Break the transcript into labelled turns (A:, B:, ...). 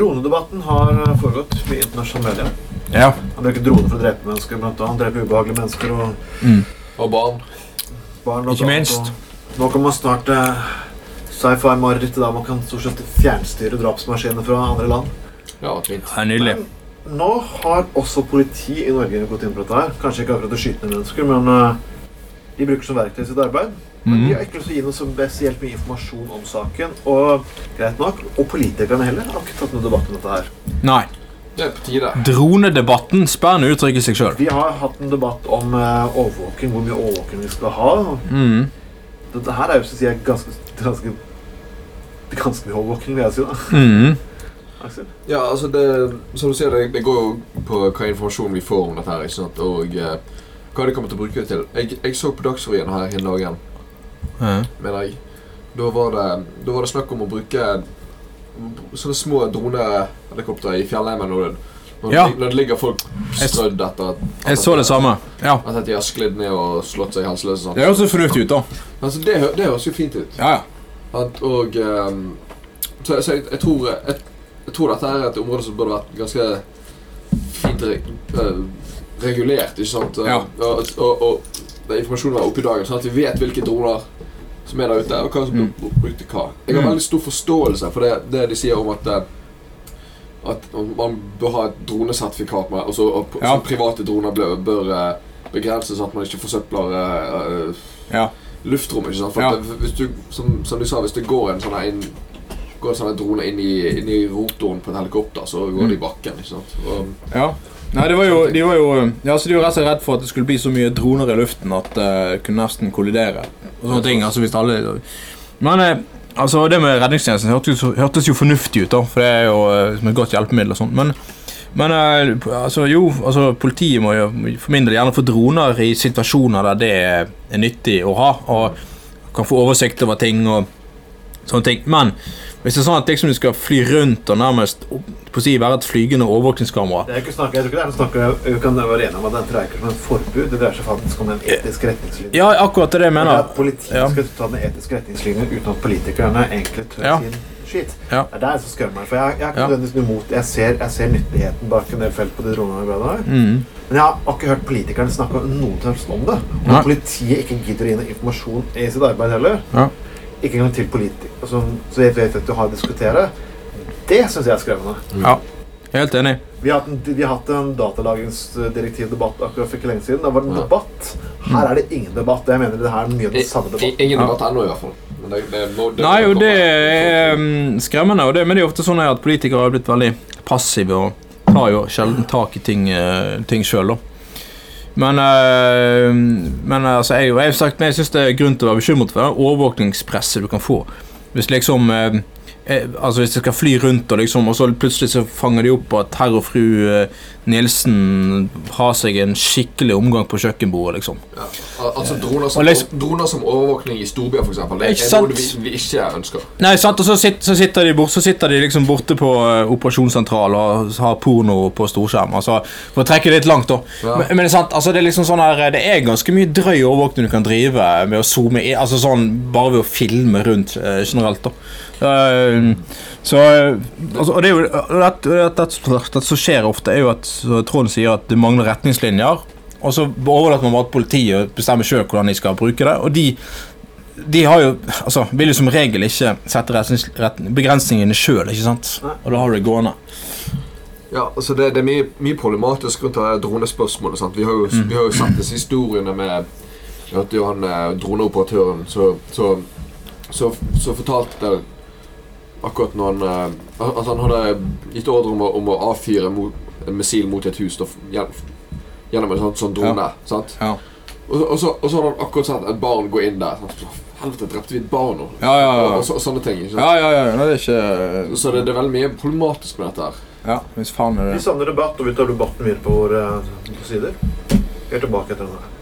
A: Dronedebatten har foregått i internasjonale medier.
B: Ja.
A: Han bruker droner for å drepe mennesker, blant annet. Drepe ubehagelige mennesker og
B: Mm.
C: Og barn.
A: barn. blant
B: Ikke
A: annet,
B: minst.
A: og Nå kan man snart eh, sci-fi-marerittet der man kan stort sett fjernstyre drapsmaskiner fra andre land.
C: Ja, fint.
B: Ja, nydelig.
A: Nå har også politi i Norge gått inn på dette her. Kanskje ikke akkurat å skyte ned mennesker, men eh, de bruker som verktøy i sitt arbeid. Men de
B: Mhm.
A: har ikke lyst til å gi noe så spesielt mye informasjon om saken. Og greit nok, og politikerne heller har ikke tatt noen debatt om dette her.
B: Nei.
C: Det er på tide.
B: Dronedebatten spennende uttrykk i seg sjøl.
A: Vi har hatt en debatt om eh, overvåking, hvor mye overvåking vi skal ha.
B: Mm.
A: Dette her er jo så å si er ganske, ganske det er ganske mye overvåking, vil jeg si. da,
B: Mm.
A: Aksel.
C: Ja, altså det, Som du sier, det, det går jo på hva informasjon vi får om dette her, ikke sant? og eh, hva de kommer til å bruke det til. Jeg, jeg så på Dagsrevyen her hele dagen,
B: Ja.
C: mener jeg. Da var, det, da var det snakk om å bruke mm, sånne små dronehelikoptre i fjellheimen når, det- når,
B: Ja.
C: det- når det ligger folk
B: Jeg s-
C: strødd etter at,
B: Jeg så det samme. Ja.
C: at de har sklidd ned og slått seg helseløse. og sånt.
B: Det høres jo fornuftig ut, da.
C: Altså, det, hø- det høres jo fint ut.
B: Ja, ja.
C: At, og ehm, så, så jeg, jeg, tror, jeg, jeg tror dette er et område som burde vært ganske fint re, eh, regulert. ikke sant?
B: Ja.
C: Og, og, og, og informasjonen var oppe i dagen, sånn at vi vet hvilke droner som er der ute, og hva som
B: Mm.
C: blir brukt til hva. Jeg har
B: Mm.
C: veldig stor forståelse for det, det de sier om at eh, at man bør ha et dronesertifikat, med, og så og, p-
B: Ja.
C: så private droner bør, bør eh, begrenses, at man ikke forsøpler eh, eh,
B: Ja.
C: luftrom. ikke sant? For
B: Ja.
C: at det- hvis du, som, som du sa, hvis det går en sånn her inn Går en sånn her drone inn i, inn i rotoren på et helikopter, så går
B: Mm.
C: det i bakken. ikke sant? Og,
B: Ja. Nei, det var jo, de var jo ja, så de var rett og slett redd for at det skulle bli så mye droner i luften at det kunne nesten kollidere. Og sånne ting, altså hvis alle... Men eh, altså, det med redningstjenesten hørtes, jo- hørtes jo fornuftig ut, da, for det er jo eh, som et godt hjelpemiddel. og sånt. Men, men eh, p- altså, jo, altså, politiet må jo for min del gjerne få droner i situasjoner der det er- er nyttig å ha. Og kan få oversikt over ting og sånne ting. Men hvis det er sånn at liksom, du skal fly rundt og nærmest på å si, være et flygende overvåkningskamera
A: Det er ikke snakk, jeg tror ikke det er noe snakk eh, vi kan være enige om at dette dreier seg om et forbud. Det dreier seg faktisk om en etisk retningslinje.
B: Ja, akkurat det er det jeg
A: Det er
B: mener.
A: at Politiet
B: Ja.
A: skal ta den etiske retningslinjen uten at politikerne egentlig tør
B: Ja.
A: sin skitt.
B: Ja.
A: Det er der jeg så skremmer meg. For jeg, jeg er ikke
B: Ja.
A: nødvendigvis noe imot Jeg ser, jeg ser nyttigheten bak en del felt på de dronene. vi har i dag.
B: Mm.
A: Men jeg har ikke hørt politikerne snakke noe som helst om det. Og
B: Nei.
A: at politiet ikke gidder å gi noe informasjon i sitt arbeid heller.
B: Ja.
A: Ikke engang til politikere som så jeg vet at du har å diskutere. Det syns jeg er skremmende.
B: Ja. Helt enig.
A: Vi har hatt en, vi har hatt en datalagringsdirektivdebatt akkurat for ikke lenge siden. Da var det en
C: Ja.
A: debatt. Her er det ingen debatt. Jeg mener det her er mye av den samme
C: I- i-
A: debatten.
C: ingen
B: Ja.
C: debatt ennå, i hvert fall. Men det, det, må- det,
B: Nei,
C: må
B: og
C: komme.
B: det er mm, skremmende, og det, men det er ofte sånn at politikere har blitt veldig passive og tar jo sjelden tak i ting, eh, ting sjøl, da. Men, eh, men altså, jeg, jeg, har sagt, men jeg syns det er grunn til å være bekymret for det overvåkningspresset du kan få. Hvis liksom eh, eh, Altså hvis de skal fly rundt, og liksom Og så plutselig så fanger de opp at herr og fru eh, Nielsen har seg en skikkelig omgang på kjøkkenbordet, liksom.
C: Ja. Al- Altså droner som,
B: Og liksom-
C: droner som overvåkning i storbyer, f.eks. Det
B: Ikke
C: er
B: sant?
C: noe vi, vi ikke ønsker.
B: Nei, sant, og så, sit, så, sitter de bort, så sitter de liksom borte på eh, operasjonssentral og har porno på storskjerm. Altså, for å trekke det litt langt, da.
C: Ja.
B: Men, men det, er sant, altså, det er liksom sånn her eh, Det er ganske mye drøy overvåkning du kan drive med å zoome i, altså sånn bare ved å filme rundt eh, generelt, da. Eh, så eh, altså, Og det er jo og det, det, det, det som skjer ofte, er jo at så Trond sier at det mangler retningslinjer. Og så overlater man bare til politiet å bestemme sjøl hvordan de skal bruke det. Og de de har jo, altså, vil jo som regel ikke sette retnings- ret- begrensningene sjøl, ikke sant?
A: Nei.
B: Og da har du det gående.
C: Ja, altså det, det er mye, mye problematisk rundt det her dronespørsmålet. Sant? Vi har jo,
B: Mm.
C: vi har jo sett disse historiene med Jeg hørte jo han eh, droneoperatøren så, så, så, så fortalte det akkurat når han eh, At han hadde gitt ordre om å, om å avfyre mot, en missil mot et hus da, f- gjennom, gjennom en sånn, sånn drone. Sant?
B: Ja.
C: Og, så- og, så, og så hadde han akkurat sett et barn gå inn der. Sant? Helvete, drepte vi et barn nå?
B: Ja, ja,
C: Og,
B: ja.
C: og, så, og sånne ting. Ikke sant?
B: Ja, ja, ja, det er ikke
C: Så det, det er veldig mye problematisk med dette her.
B: Ja, hvis faen er
A: Vi
B: det
A: savner debatt, og vi tar debatten videre på våre eh, sider. Vi er tilbake etter den her.